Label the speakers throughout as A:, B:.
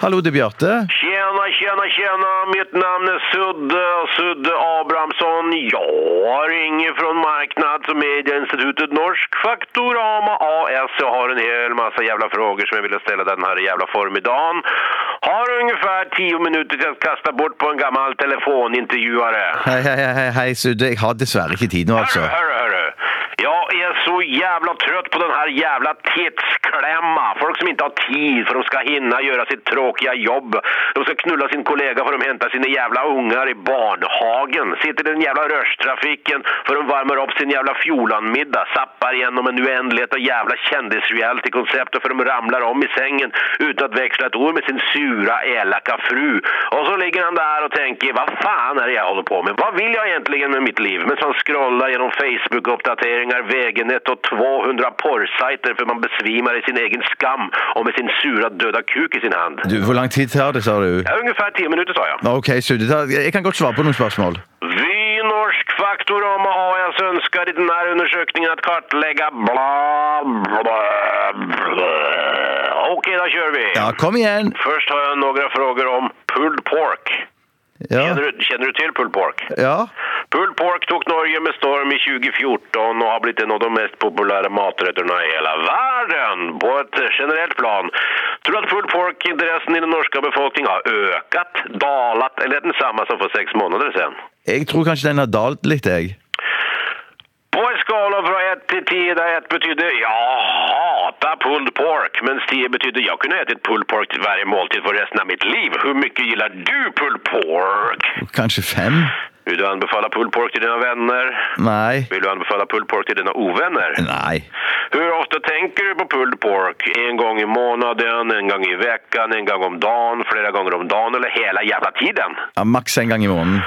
A: Hallå, det är Bjarte.
B: Tjena, tjena, tjena! Mitt namn är Sudde, Sudde Abrahamsson. Jag ringer från Marknad som är i institutet Norsk Faktorama AS. Jag har en hel massa jävla frågor som jag ville ställa den här jävla förmiddagen. Har ungefär tio minuter till att kasta bort på en gammal telefonintervjuare.
A: Hej, hej, hej, hej, hej, Sudde. Jag har dessvärre inte tid nu alltså.
B: Hörru, hörru, hörru. Jag är så jävla trött på den här jävla tidsklämma. Folk som inte har tid för de ska hinna göra sitt tråkiga jobb. De ska knulla sin kollega för de hämtar sina jävla ungar i barnhagen. Sitter i den jävla rörstrafiken för de värmer upp sin jävla fjolanmiddag. Zappar igenom en oändlighet av jävla kändisrealitykoncept för de ramlar om i sängen utan att växla ett ord med sin sura, elaka fru. Och så ligger han där och tänker, vad fan är det jag håller på med? Vad vill jag egentligen med mitt liv? Men så han scrollar genom Facebook-uppdateringar, Vägenet och 200 porrsajter för man besvimar i sin egen skam och med sin sura döda kuk i sin hand.
A: Du, hur lång tid tar det, sa du?
B: Ja, ungefär 10 minuter sa jag.
A: Okej, Sudde. ta- Jag kan gott svara på några frågor.
B: Vi Norsk Faktorama AS önskar i den här undersökningen att kartlägga bla bla bla. Okej, då kör vi.
A: Ja, kom igen.
B: Först har jag några frågor om pulled pork.
A: Ja.
B: Känner, du, känner du till pulled pork?
A: ja.
B: Pulled pork tog Norge med storm i 2014 och har blivit en av de mest populära maträtterna i hela världen på ett generellt plan. Tror du att pulled pork-intressen i den norska befolkningen har ökat, dalat eller är densamma som för sex månader sedan?
A: Jag tror kanske den har dalat lite, jag.
B: På en skala från 1 till 10 där 1 betyder jag hatar pulled pork medan 10 betyder jag kunde ha ätit pulled pork till varje måltid för resten av mitt liv. Hur mycket gillar du pulled pork?
A: Kanske fem?
B: Vill du anbefalla pulled pork till dina vänner?
A: Nej.
B: Vill du anbefalla pulled pork till dina ovänner?
A: Mm. Nej.
B: Hur ofta tänker du på pulled pork? En gång i månaden, en gång i veckan, en gång om dagen, flera gånger om dagen eller hela jävla tiden?
A: Ja, max en gång i månaden.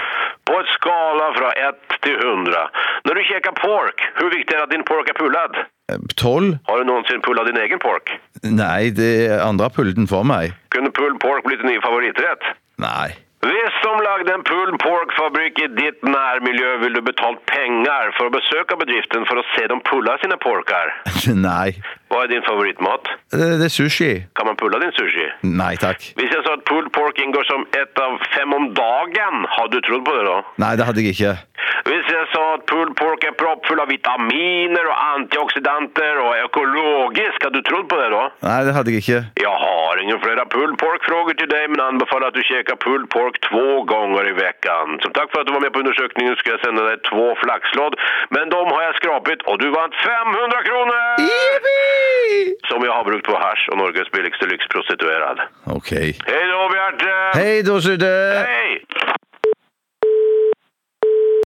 B: På ett skala från 1 till 100. När du käkar pork, hur viktigt är det att din pork är pullad?
A: Eh, Tolv?
B: Har du någonsin pullat din egen pork?
A: Nej, det är andra pulten för mig.
B: Kunde pulled pork bli din nya favoriträtt?
A: Nej.
B: Visst som lagde en pulled pork-fabrik i ditt närmiljö vill du betalt pengar för att besöka bedriften för att se dem pulla sina porkar.
A: Nej.
B: Vad är din favoritmat?
A: Det det är sushi.
B: Kan man pulla din sushi?
A: Nej, tack.
B: Visst jag sa att pulled pork ingår som ett av fem om dagen? Har du trott på det då?
A: Nej, det hade jag inte.
B: Visst jag sa att pulled pork är proppfull av vitaminer och antioxidanter och är ekologisk? Har du trott på det då?
A: Nej, det hade jag inte.
B: Jag har inga flera pulled pork-frågor till dig men anbefaller att du käkar pulled pork två gånger i veckan. Som tack för att du var med på undersökningen ska jag sända dig två flaxlåd. Men de har jag skrapit och du vann 500 kronor!
A: Yippee!
B: Som jag har brukt på hasch och Norges billigaste lyxprostituerad.
A: Okej.
B: Hej då Bjarte!
A: Hej då, Sudde!
B: Hej!